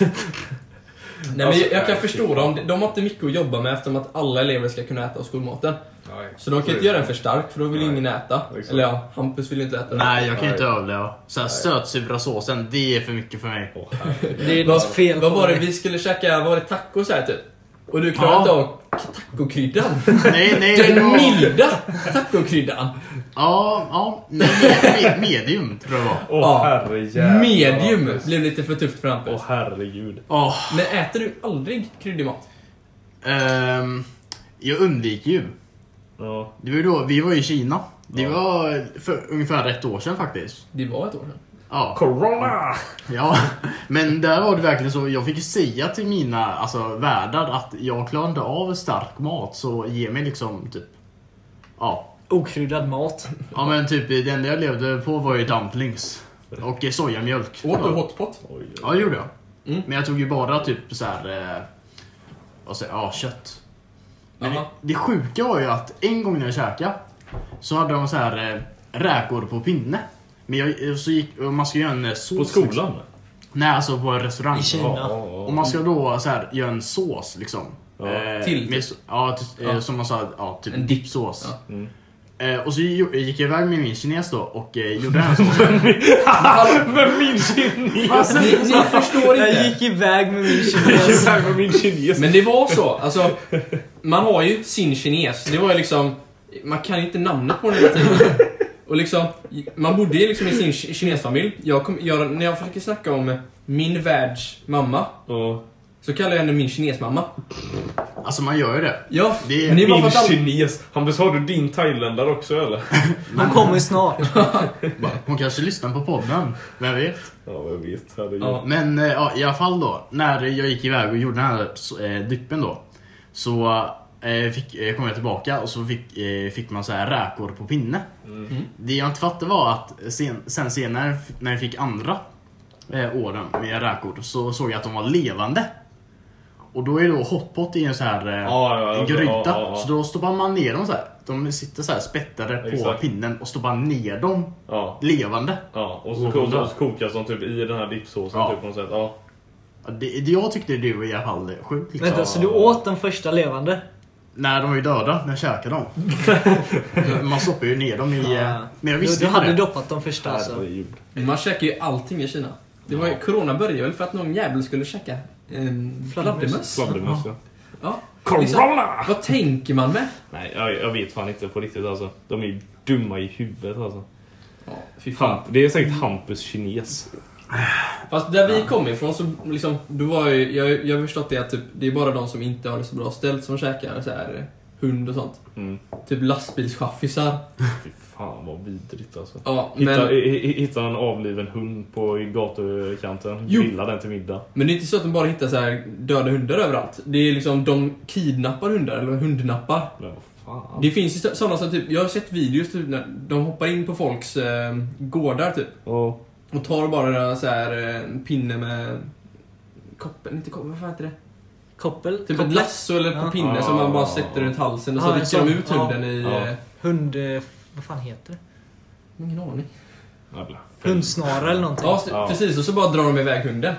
Speaker 4: Nej, men
Speaker 2: Alltså,
Speaker 4: jag, jag kan
Speaker 2: nej,
Speaker 4: förstå
Speaker 2: shit.
Speaker 4: dem. De har inte mycket att jobba med eftersom att alla elever ska kunna äta av skolmaten.
Speaker 2: Nej.
Speaker 4: Så de kan inte göra den för stark för då vill ju
Speaker 2: Nej.
Speaker 4: ingen äta.
Speaker 2: Exakt.
Speaker 4: Eller ja, Hampus vill ju inte äta den.
Speaker 1: Nej, jag kan
Speaker 2: Nej.
Speaker 1: inte överleva. Såhär sötsura såsen, det är för mycket för mig.
Speaker 2: Åh, herregud.
Speaker 3: Det är något fel
Speaker 4: Vad var det
Speaker 3: dig.
Speaker 4: vi skulle käka? Vad var det tacos här typ? Och du klarade
Speaker 1: Ja.
Speaker 4: inte av k- tacokryddan? <laughs>
Speaker 1: Nej, nej. det
Speaker 4: Den
Speaker 1: var-
Speaker 4: milda tacokryddan!
Speaker 1: Ja, ja. Nej, me- me- medium tror jag det var.
Speaker 2: Åh
Speaker 4: Ja.
Speaker 2: herrejävlar.
Speaker 4: Medium blev lite för tufft för
Speaker 2: Åh
Speaker 4: Hampus.
Speaker 2: herregud.
Speaker 1: Åh.
Speaker 4: Men äter du aldrig kryddig mat?
Speaker 1: ehm, jag undviker ju.
Speaker 2: Ja.
Speaker 1: Det var ju då, vi var i Kina. Det
Speaker 2: Ja.
Speaker 1: var för ungefär ett år sedan faktiskt.
Speaker 4: Det var ett år sedan.
Speaker 1: Ja.
Speaker 2: Corona!
Speaker 1: ja. <laughs> Men där var det verkligen så. Jag fick ju säga till mina alltså, värdar att jag klarar inte av stark mat så ge mig liksom typ... Ja.
Speaker 3: Okryddad mat.
Speaker 1: Ja men typ det enda jag levde på var ju dumplings. Och eh, sojamjölk.
Speaker 4: Åt du
Speaker 1: Ja.
Speaker 4: hotpot?
Speaker 2: Oj,
Speaker 1: Ja, det gjorde jag.
Speaker 4: Mm.
Speaker 1: Men jag tog ju bara typ så här, eh, vad säger jag, ja, kött. Men det,
Speaker 4: Jaha.
Speaker 1: det sjuka var ju att en gång när jag käkade så hade de så här eh, räkor på pinne. Men jag, eh, så gick, och man ska göra en eh, sås.
Speaker 2: På skolan?
Speaker 1: Nej, alltså på en restaurang.
Speaker 3: I Kina.
Speaker 2: Ja, ja,
Speaker 1: Och man ska då så här, göra en sås liksom.
Speaker 2: Ja.
Speaker 4: Till
Speaker 1: med,
Speaker 4: typ.
Speaker 1: så- ja, t- eh,
Speaker 4: Ja.
Speaker 1: som man sa, ja, typ
Speaker 4: En
Speaker 1: en dippsås.
Speaker 4: Ja.
Speaker 2: Mm.
Speaker 1: Eh, och så ju- gick jag iväg med min kines då och eh, gjorde den här såsen.
Speaker 2: Vem minns
Speaker 1: Alltså,
Speaker 4: Ni, ni förstår inte.
Speaker 3: Jag gick iväg med min
Speaker 4: <laughs>
Speaker 3: kines.
Speaker 2: inte? min kines.
Speaker 4: Men det var så. Alltså, man har ju sin kines. Det var ju liksom... Man kan ju inte namnet på den hela tiden. Och liksom, man bodde ju liksom i sin ki- kinesfamilj. Jag kom, jag, när jag försöker snacka om min världs mamma
Speaker 2: Ja.
Speaker 4: så kallar jag henne min kinesmamma.
Speaker 1: alltså man gör ju det.
Speaker 4: Ja,
Speaker 1: Det är-
Speaker 4: men det är bara för
Speaker 2: Min
Speaker 4: att alla-
Speaker 2: kines. Hampus, har du din thailändare också eller?
Speaker 3: Hon kommer snart.
Speaker 1: Hon kanske lyssnar på podden, vem vet?
Speaker 2: Ja, jag vet. Herregud.
Speaker 4: Ja.
Speaker 1: Men eh, ja, i alla fall då, när jag gick iväg och gjorde den här så- eh, dippen då. Så eh, fick, eh, kom jag tillbaka och så fick, eh, fick man så här räkor på pinne.
Speaker 2: Mm.
Speaker 1: Det jag inte fattade var att sen, sen senare f- när jag fick andra eh, åren med räkor så såg jag att de var levande. Och då är då hotpot i en så här eh,
Speaker 2: Ja, ja, ja,
Speaker 1: en gryta.
Speaker 2: ja, ja, ja.
Speaker 1: Så då stoppar man ner dem så här. De sitter så här spättade på
Speaker 2: Exakt.
Speaker 1: pinnen och stoppar ner dem
Speaker 2: Ja.
Speaker 1: levande.
Speaker 2: Ja, och så, och så kokas de typ i den här dippsåsen
Speaker 1: Ja.
Speaker 2: typ på något sätt. Ja.
Speaker 1: Ja, Det, det jag tyckte det var i alla fall sjukt. Liksom.
Speaker 3: Vänta, så du åt den första levande?
Speaker 1: Nej, de var ju döda när jag käkade
Speaker 2: <laughs>
Speaker 1: dem. Man stoppar ju ner dem i... eh, Men jag visste
Speaker 3: Du, du
Speaker 1: inte
Speaker 3: hade
Speaker 1: det.
Speaker 3: doppat de första alltså.
Speaker 2: Herregud.
Speaker 4: Man käkar ju allting i Kina. Det var ju, corona började väl för att någon jävel skulle käka ehm, fladdermöss?
Speaker 2: Fladdermöss ja.
Speaker 4: Ja. Liksom,
Speaker 2: Corona!
Speaker 4: vad tänker man med?
Speaker 2: Nej, jag, jag vet fan inte på riktigt alltså. De är ju dumma i huvudet alltså.
Speaker 4: Ja, fy fan.
Speaker 2: Hamp, det är säkert Hampus kines.
Speaker 4: Fast där vi kom ifrån så liksom, då var ju, jag, jag har förstått det att typ, det är bara de som inte har det så bra ställt som käkar så här, eh, hund och sånt.
Speaker 2: Mm.
Speaker 4: Typ lastbilschaffisar.
Speaker 2: Fy fan vad vidrigt alltså.
Speaker 4: Ja,
Speaker 2: Hitta,
Speaker 4: men,
Speaker 2: i- i- hitta en avliven hund på gatukanten.
Speaker 4: Jo.
Speaker 2: Grilla den till middag.
Speaker 4: men det är inte så att de bara hittar så här döda hundar överallt. Det är liksom, de kidnappar hundar, eller hundnappar.
Speaker 2: Men vad fan.
Speaker 4: Det finns ju sådana som typ, jag har sett videos typ när de hoppar in på folks eh, gårdar typ.
Speaker 2: Ja.
Speaker 4: Och tar bara deras så här, eh, en pinne med koppel, inte koppel, vad fan heter det?
Speaker 3: Koppel?
Speaker 4: Typ
Speaker 3: koppel.
Speaker 4: ett lasso eller
Speaker 3: Ja.
Speaker 4: på pinne som man bara sätter runt halsen och så
Speaker 3: Ja, en
Speaker 4: rycker de
Speaker 3: sån.
Speaker 4: ut hunden i...
Speaker 2: Ja.
Speaker 4: eh,
Speaker 3: Hund... eh, Vad fan heter det?
Speaker 4: Ingen aning.
Speaker 2: Jävla fel.
Speaker 3: Hundsnara eller någonting.
Speaker 4: Ja, så,
Speaker 2: Ja.
Speaker 4: precis. Och så bara drar de iväg hunden.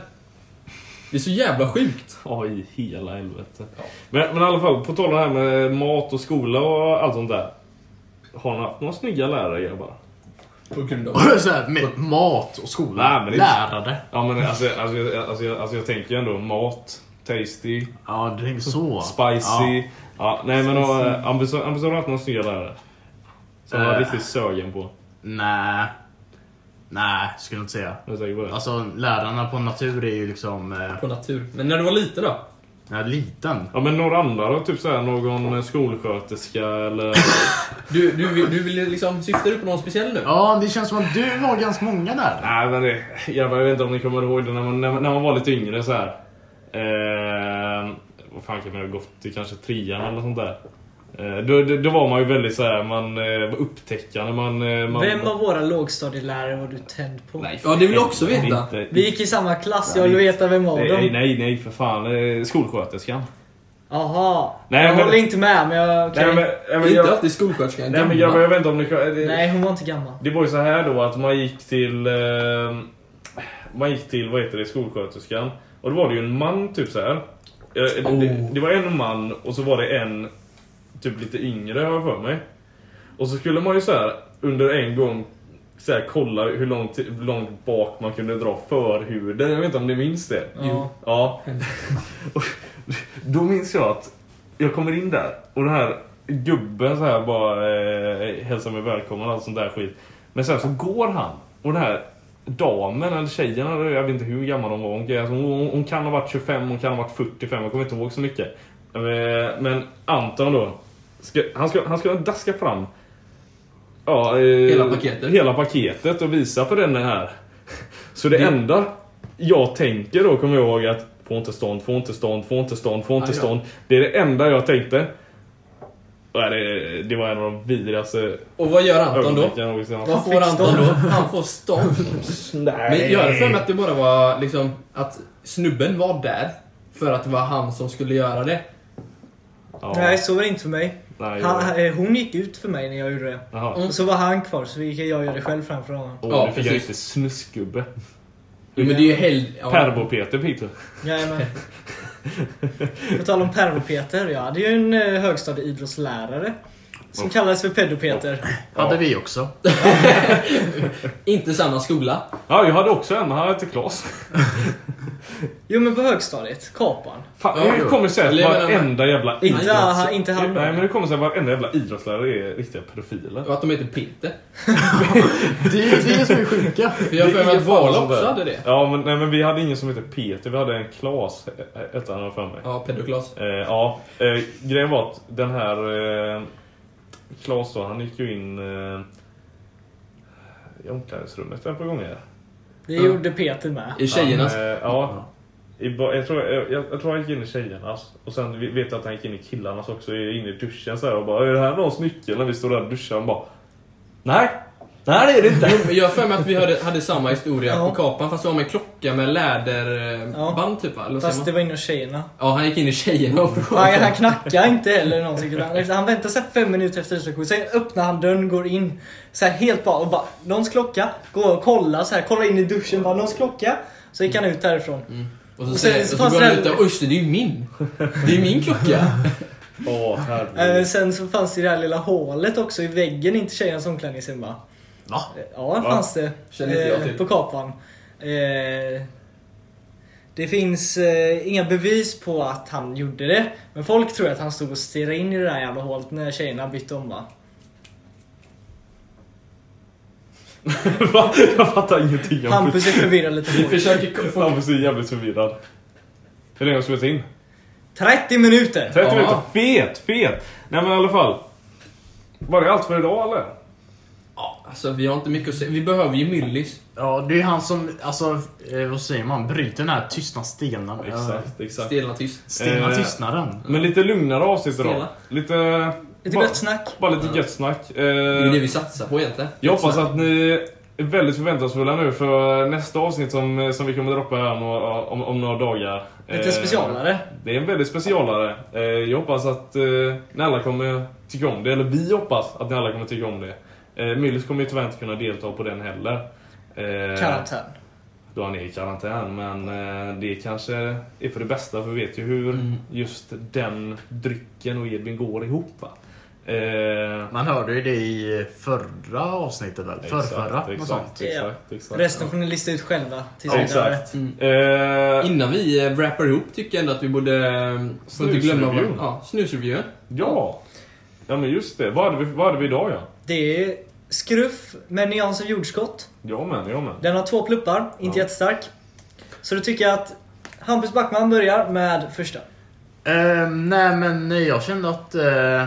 Speaker 4: Det är så jävla sjukt.
Speaker 2: Ja, i hela helvete. Men, men i alla fall, på tal om det här med mat och skola och allt sånt där. Har ni haft några snygga lärare grabbar?
Speaker 4: På grund av...
Speaker 1: <laughs> så här, med mat och skola.
Speaker 2: Nej, men det-
Speaker 1: Lärare.
Speaker 2: Ja men alltså, alltså, jag- alltså, jag- alltså jag tänker ju ändå mat, tasty,
Speaker 1: Ja, det är så.
Speaker 2: spicy. Ja. nej men äh, Ambus Ambus har haft några snygga lärare. Som jag var
Speaker 1: Eh.
Speaker 2: riktigt sögen på.
Speaker 1: Nej. Nej, skulle jag inte säga.
Speaker 2: Jag är säker på det.
Speaker 1: Alltså, lärarna på natur är ju liksom... eh,
Speaker 4: På natur. Men när du var liten då?
Speaker 1: När jag är liten.
Speaker 2: Ja men några andra då? Typ såhär någon skolsköterska eller...
Speaker 3: <laughs>
Speaker 4: Du, du, du ville liksom... Syftar du på någon speciell nu?
Speaker 1: Ja, det känns som att du var ganska många där.
Speaker 2: Nej men det, jävlar, jag vet inte om ni kommer ihåg det när man, när, man- när man var lite yngre så här. Eh, vad fan kan man ha gått till? Kanske trean eller sånt där. Eh, då, då, då var man ju väldigt så här, man eh, var upptäckande. Man, eh, man,
Speaker 3: Vem av våra lågstadielärare var du tänd på?
Speaker 2: Nej,
Speaker 4: Ja, det vill jag också veta.
Speaker 2: Inte-
Speaker 3: Vi gick i samma klass, jag vill veta vem av
Speaker 2: Nej,
Speaker 3: dem.
Speaker 2: nej, nej för fan. Eh, Skolsköterskan.
Speaker 3: Jaha.
Speaker 2: Nej,
Speaker 3: jag
Speaker 2: men-
Speaker 3: håller inte med, men jag... okej.
Speaker 4: Det är inte alltid skolsköterskan
Speaker 2: Nej men
Speaker 4: gammal.
Speaker 2: grabbar, jag vet inte om ni det-
Speaker 3: Nej, hon var inte gammal.
Speaker 2: Det var ju så här då att man gick till... Eh, man gick till, vad heter det, skolsköterskan. Och då var det ju en man typ så här. Eh, det- det,
Speaker 4: Oh.
Speaker 2: det var en man och så var det en typ lite yngre har jag för mig. Och så skulle man ju så här under en gång så här, kolla hur långt, hur långt bak man kunde dra förhuden. Jag vet inte om ni minns det?
Speaker 3: Ja.
Speaker 2: Ja. <laughs> Och Då minns jag att jag kommer in där och den här gubben så här bara eh, hälsar mig välkommen och allt sånt där skit. Men sen så går han och den här damen eller tjejen, eller jag vet inte hur gammal hon var. Hon, alltså hon, hon kan ha varit 25, hon kan ha varit 45, jag kommer inte ihåg så mycket. Eh, Men Anton då, ska, han, ska, han ska daska fram ja, eh,
Speaker 4: Hela paketet.
Speaker 2: hela paketet och visa för den här. Så det, enda jag tänker då kommer jag ihåg att få inte stånd, få inte stånd, få inte stånd, få inte
Speaker 4: Aj, Ah, ja.
Speaker 2: stånd. Det är det enda jag tänkte. Nej, det, det var en av de vidrigaste
Speaker 4: Och vad gör Anton då?
Speaker 2: ögonblicken jag någonsin haft.
Speaker 4: Vad får Anton då? Han får stånd. Men jag har för mig att det bara var liksom att snubben var där för att det var han som skulle göra det.
Speaker 2: Ja,
Speaker 3: Nej, så var det inte för mig.
Speaker 2: nej,
Speaker 3: Han, eh, hon gick ut för mig när jag gjorde det.
Speaker 2: Jaha.
Speaker 4: Mm.
Speaker 3: Och så var han kvar, så gick jag och gjorde det själv framför honom.
Speaker 2: Åh,
Speaker 4: Ja,
Speaker 2: nu fick jag
Speaker 4: precis.
Speaker 2: riktigt snuskgubbe.
Speaker 4: Jo, men det är ju helg... Ja.
Speaker 2: Pervo-Peter fick du.
Speaker 3: Jajamän. På tal om pervo-Peter, jag hade ju en eh, högstadieidrottslärare. Som kallades för pedo-Peter.
Speaker 1: Hade vi
Speaker 2: <laughs>
Speaker 1: också.
Speaker 4: Inte samma skola.
Speaker 2: Ja, jag hade också en, men han hette Klas.
Speaker 3: Jo men på högstadiet, Kapan.
Speaker 2: Fan,
Speaker 4: Ja,
Speaker 2: hur kommer det sig
Speaker 4: Eller
Speaker 2: att
Speaker 4: jag menar-
Speaker 2: varenda jävla
Speaker 3: Inte,
Speaker 2: idrotts-
Speaker 3: han- inte han
Speaker 2: Nej, men hur kommer det sig att varenda jävla idrottslärare är riktiga pedofiler?
Speaker 4: Och att de heter Peter.
Speaker 1: Det är vi som är sjuka.
Speaker 4: För jag har
Speaker 2: Det
Speaker 4: för
Speaker 2: är
Speaker 4: mig att
Speaker 2: fan
Speaker 4: Vala
Speaker 2: sånt där.
Speaker 4: också hade det.
Speaker 2: Ja, men, nej, men vi hade ingen som hette Peter, vi hade en Klas, eh, hette han för mig.
Speaker 4: Ja, pedoklas.
Speaker 2: Eh, ja, eh, grejen var att den här eh, Klas då, han gick ju in eh, i omklädningsrummet ett par gånger.
Speaker 3: Det
Speaker 4: Ja.
Speaker 3: gjorde Peter med.
Speaker 4: I tjejernas.
Speaker 2: Han, eh, ja. I, ba- jag, tror, jag, jag, jag tror han gick in i tjejernas. Och sen vi- vet jag att han gick in i killarnas också, i- in i duschen så här och bara Är det här någons nyckel? När vi står där och duschar. Han bara Nej! Nej det är det inte!
Speaker 4: Jo, men jag har för mig att vi hade, hade samma historia
Speaker 3: Ja.
Speaker 4: på Kapan fast det var med klocka med
Speaker 3: Ja.
Speaker 4: läderband typ va? Eller vad
Speaker 3: Fast
Speaker 4: säger
Speaker 3: det
Speaker 4: man?
Speaker 3: var inne tjejerna.
Speaker 4: Ja, han gick in i tjejerna och
Speaker 3: Han, han knackade inte heller någonting. utan efter- Han väntade sig fem minuter efter utslagsskjutet. Sen öppnar han dörren, går in. Så här helt bara, och bara någons klocka. Går och kollar så här, kollar in i duschen, bara någons klocka. Så gick han ut därifrån.
Speaker 4: Och så,
Speaker 3: Och sen-
Speaker 4: säger, och
Speaker 3: så
Speaker 4: så
Speaker 3: fanns
Speaker 4: går han
Speaker 3: det-
Speaker 4: ut där, usch det är ju min. Det är ju
Speaker 3: <laughs>
Speaker 4: min klocka.
Speaker 2: Åh
Speaker 3: Eh,
Speaker 2: herregud.
Speaker 3: Sen så fanns det det här lilla hålet också i väggen inte tjejernas omklädningsrum va?
Speaker 1: Va?
Speaker 3: Eh, Ja, det
Speaker 2: Va?
Speaker 3: fanns det.
Speaker 4: Känner inte jag
Speaker 3: Eh,
Speaker 4: till.
Speaker 3: På Kapan. Eh, Det finns eh, inga bevis på att han gjorde det. Men folk tror att han stod och stirrade in i det där jävla hålet när tjejerna bytte om va?
Speaker 2: Va? <laughs> jag fattar ingenting. om
Speaker 3: Hampus är förvirrad lite.
Speaker 4: Vi
Speaker 3: folk.
Speaker 4: försöker få...
Speaker 2: Fan vad så jävligt förvirrad. Hur länge har vi spelat in?
Speaker 3: 30 minuter!
Speaker 2: 30
Speaker 4: Ja.
Speaker 2: minuter. Fet, fet. Nej men i alla fall. Var det allt för idag eller?
Speaker 4: Ja, Alltså vi har inte mycket att säga. Vi behöver ju Myllys.
Speaker 1: Ja, det är han som, alltså, eh, vad säger man, bryter den här tystna stenen.
Speaker 2: Exakt, exakt.
Speaker 4: Stelna tyst.
Speaker 1: Stena
Speaker 2: Eh,
Speaker 1: tystnaden.
Speaker 2: Men lite lugnare avsnitt idag.
Speaker 4: Stela.
Speaker 2: Lite...
Speaker 3: Lite
Speaker 2: bara,
Speaker 3: gött snack.
Speaker 2: bara lite gött snack. Eh,
Speaker 4: Det är det vi satsar på egentligen.
Speaker 2: jag hoppas att ni är väldigt förväntansfulla nu för nästa avsnitt som, som vi kommer droppa här om, några- om, om några dagar.
Speaker 3: Lite
Speaker 2: Eh,
Speaker 3: specialare.
Speaker 2: Det är en väldigt specialare. Eh, Jag hoppas att eh, ni alla kommer tycka om det, eller vi hoppas att ni alla kommer tycka om det. Eh, Myllys kommer ju tyvärr inte kunna delta på den heller. Eh,
Speaker 3: Karantän.
Speaker 2: Då han är i karantän, men eh, det kanske är för det bästa för vi vet ju hur
Speaker 1: Mm.
Speaker 2: just den drycken och Edvin går ihop. Va? Eh,
Speaker 1: Man hörde ju det i förra avsnittet väl? Förrförra?
Speaker 2: exakt,
Speaker 1: något sånt.
Speaker 2: exakt, exakt, exakt.
Speaker 3: Resten får ni lista ut själva. tills
Speaker 2: Ja,
Speaker 3: vidare.
Speaker 2: exakt. Eh,
Speaker 4: Innan vi eh, wrappar ihop tycker jag ändå att vi borde... eh, Får inte glömma vad,
Speaker 2: Snusrevyn.
Speaker 4: ja, snusrevyn.
Speaker 2: ja. ja, men just det. Vad hade vi, vad hade vi idag ja?
Speaker 3: Det är skruff med nyans av jordskott.
Speaker 2: Ja men, ja men.
Speaker 3: Den har två pluppar, inte
Speaker 2: Ja.
Speaker 3: jättestark. Så då tycker jag att Hampus Backman börjar med första.
Speaker 1: Eh, nej men eh, jag kände att... Eh,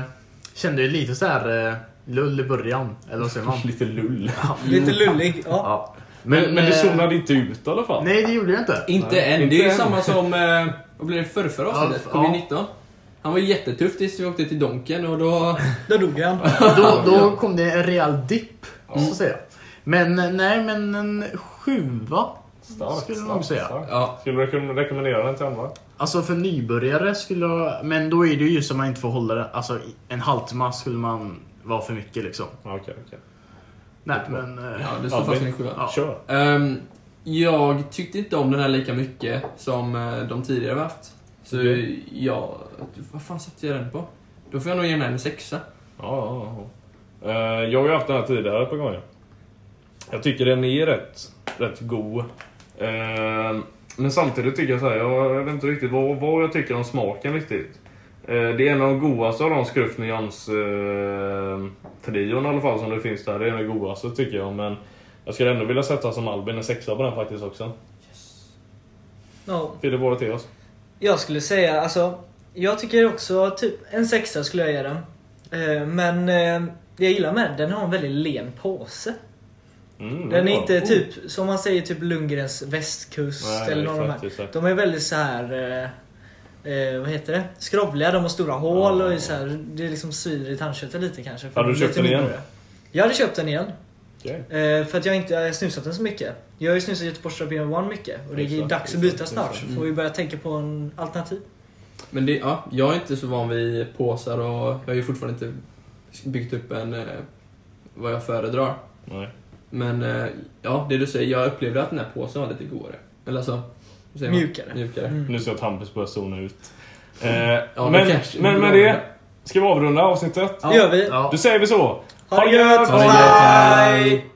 Speaker 1: kände ju lite så här eh, lull i början. Eller vad säger
Speaker 2: <laughs>
Speaker 1: man?
Speaker 2: Lite lull. Mm.
Speaker 3: Lite lullig. Ja.
Speaker 1: Ja.
Speaker 2: Men, men det
Speaker 1: eh,
Speaker 2: zonade inte ut i alla fall. <laughs>
Speaker 1: Nej det gjorde jag inte.
Speaker 4: Inte
Speaker 2: Nej,
Speaker 4: än.
Speaker 2: inte
Speaker 4: Det är ju
Speaker 2: än.
Speaker 4: samma som eh, Vad blev det förrförra avsnittet?
Speaker 1: Ja,
Speaker 4: Covid-19? Han var ju jättetuff tills vi åkte till Donken och då...
Speaker 3: Då dog han.
Speaker 1: Då, då kom det en rejäl dipp, så att säga. Men nej, men en sjua
Speaker 2: Starkt,
Speaker 1: skulle jag nog
Speaker 2: starkt,
Speaker 1: säga.
Speaker 2: starkt.
Speaker 4: Ja.
Speaker 2: Skulle du rekom- rekommendera den till andra?
Speaker 1: Alltså för nybörjare skulle jag... Men då är det ju just att man inte får hålla den. Alltså en halvtimme skulle man vara för mycket liksom.
Speaker 2: Ja, Okej, okej.
Speaker 1: Nej, men... eh,
Speaker 4: Ja, det står
Speaker 2: Ja,
Speaker 4: fast
Speaker 2: men-
Speaker 4: en sjua.
Speaker 1: Ja.
Speaker 2: Kör.
Speaker 4: Ehm, jag tyckte inte om den här lika mycket som eh, de tidigare vi haft. Så
Speaker 2: Okej.
Speaker 4: jag... Vad fan satte jag den på? Då får jag nog ge den en sexa.
Speaker 2: Ja, ja, ja. Eh, jag har ju haft den här tidigare på gången. Jag tycker den är rätt, rätt god. Eh, men samtidigt tycker jag så här, jag, jag vet inte riktigt vad, vad jag tycker om smaken riktigt. Eh, det är en av de godaste av de Skrufnians uh, trion i alla fall som det finns där. Det är en av de godaste tycker jag. Men jag skulle ändå vilja sätta som Albin en sexa på den faktiskt också.
Speaker 3: Ja.
Speaker 2: Filip, vad till oss?
Speaker 3: Jag skulle säga, alltså. Jag tycker också typ en sexa skulle jag ge den. Eh, Men eh, det jag gillar med den, den har en väldigt len påse.
Speaker 2: Mm,
Speaker 3: Den är
Speaker 2: bra.
Speaker 3: inte typ, som man säger, typ Lundgrens västkust
Speaker 2: Nej,
Speaker 3: eller någon av de
Speaker 2: exakt,
Speaker 3: här.
Speaker 2: exakt.
Speaker 3: De är väldigt så här. eh, Eh, vad heter det? Skrovliga, de har stora hål och är så här, det är liksom svider i tandköttet lite kanske. för
Speaker 2: Hade du
Speaker 3: de är
Speaker 2: köpt
Speaker 3: lite
Speaker 2: den igen?
Speaker 3: mindre. Jag hade köpt den igen.
Speaker 2: Okej.
Speaker 3: Eh, för att jag inte har snusat den så mycket. Jag har ju snusat Göteborgs Rabin One mycket och det är
Speaker 2: Exakt,
Speaker 3: dags att
Speaker 2: exakt,
Speaker 3: byta
Speaker 2: exakt.
Speaker 3: snart. Så får vi börja tänka på en alternativ.
Speaker 4: Men det, ja, jag är inte så van vid påsar och jag har ju fortfarande inte byggt upp en eh, vad jag föredrar.
Speaker 2: Nej.
Speaker 4: Men eh, ja, det du säger, jag upplevde att den här påsen var lite godare. Eller alltså, vad säger man?
Speaker 3: Mjukare.
Speaker 4: Mjukare.
Speaker 2: Nu ser jag att Hampus börjar zona ut. Eh, men,
Speaker 4: kanske-
Speaker 2: men med det ska vi avrunda avsnittet.
Speaker 3: Det gör vi.
Speaker 1: Ja.
Speaker 2: Då säger vi så.
Speaker 3: Ha det gött!
Speaker 4: Ha det gött!
Speaker 3: Bye!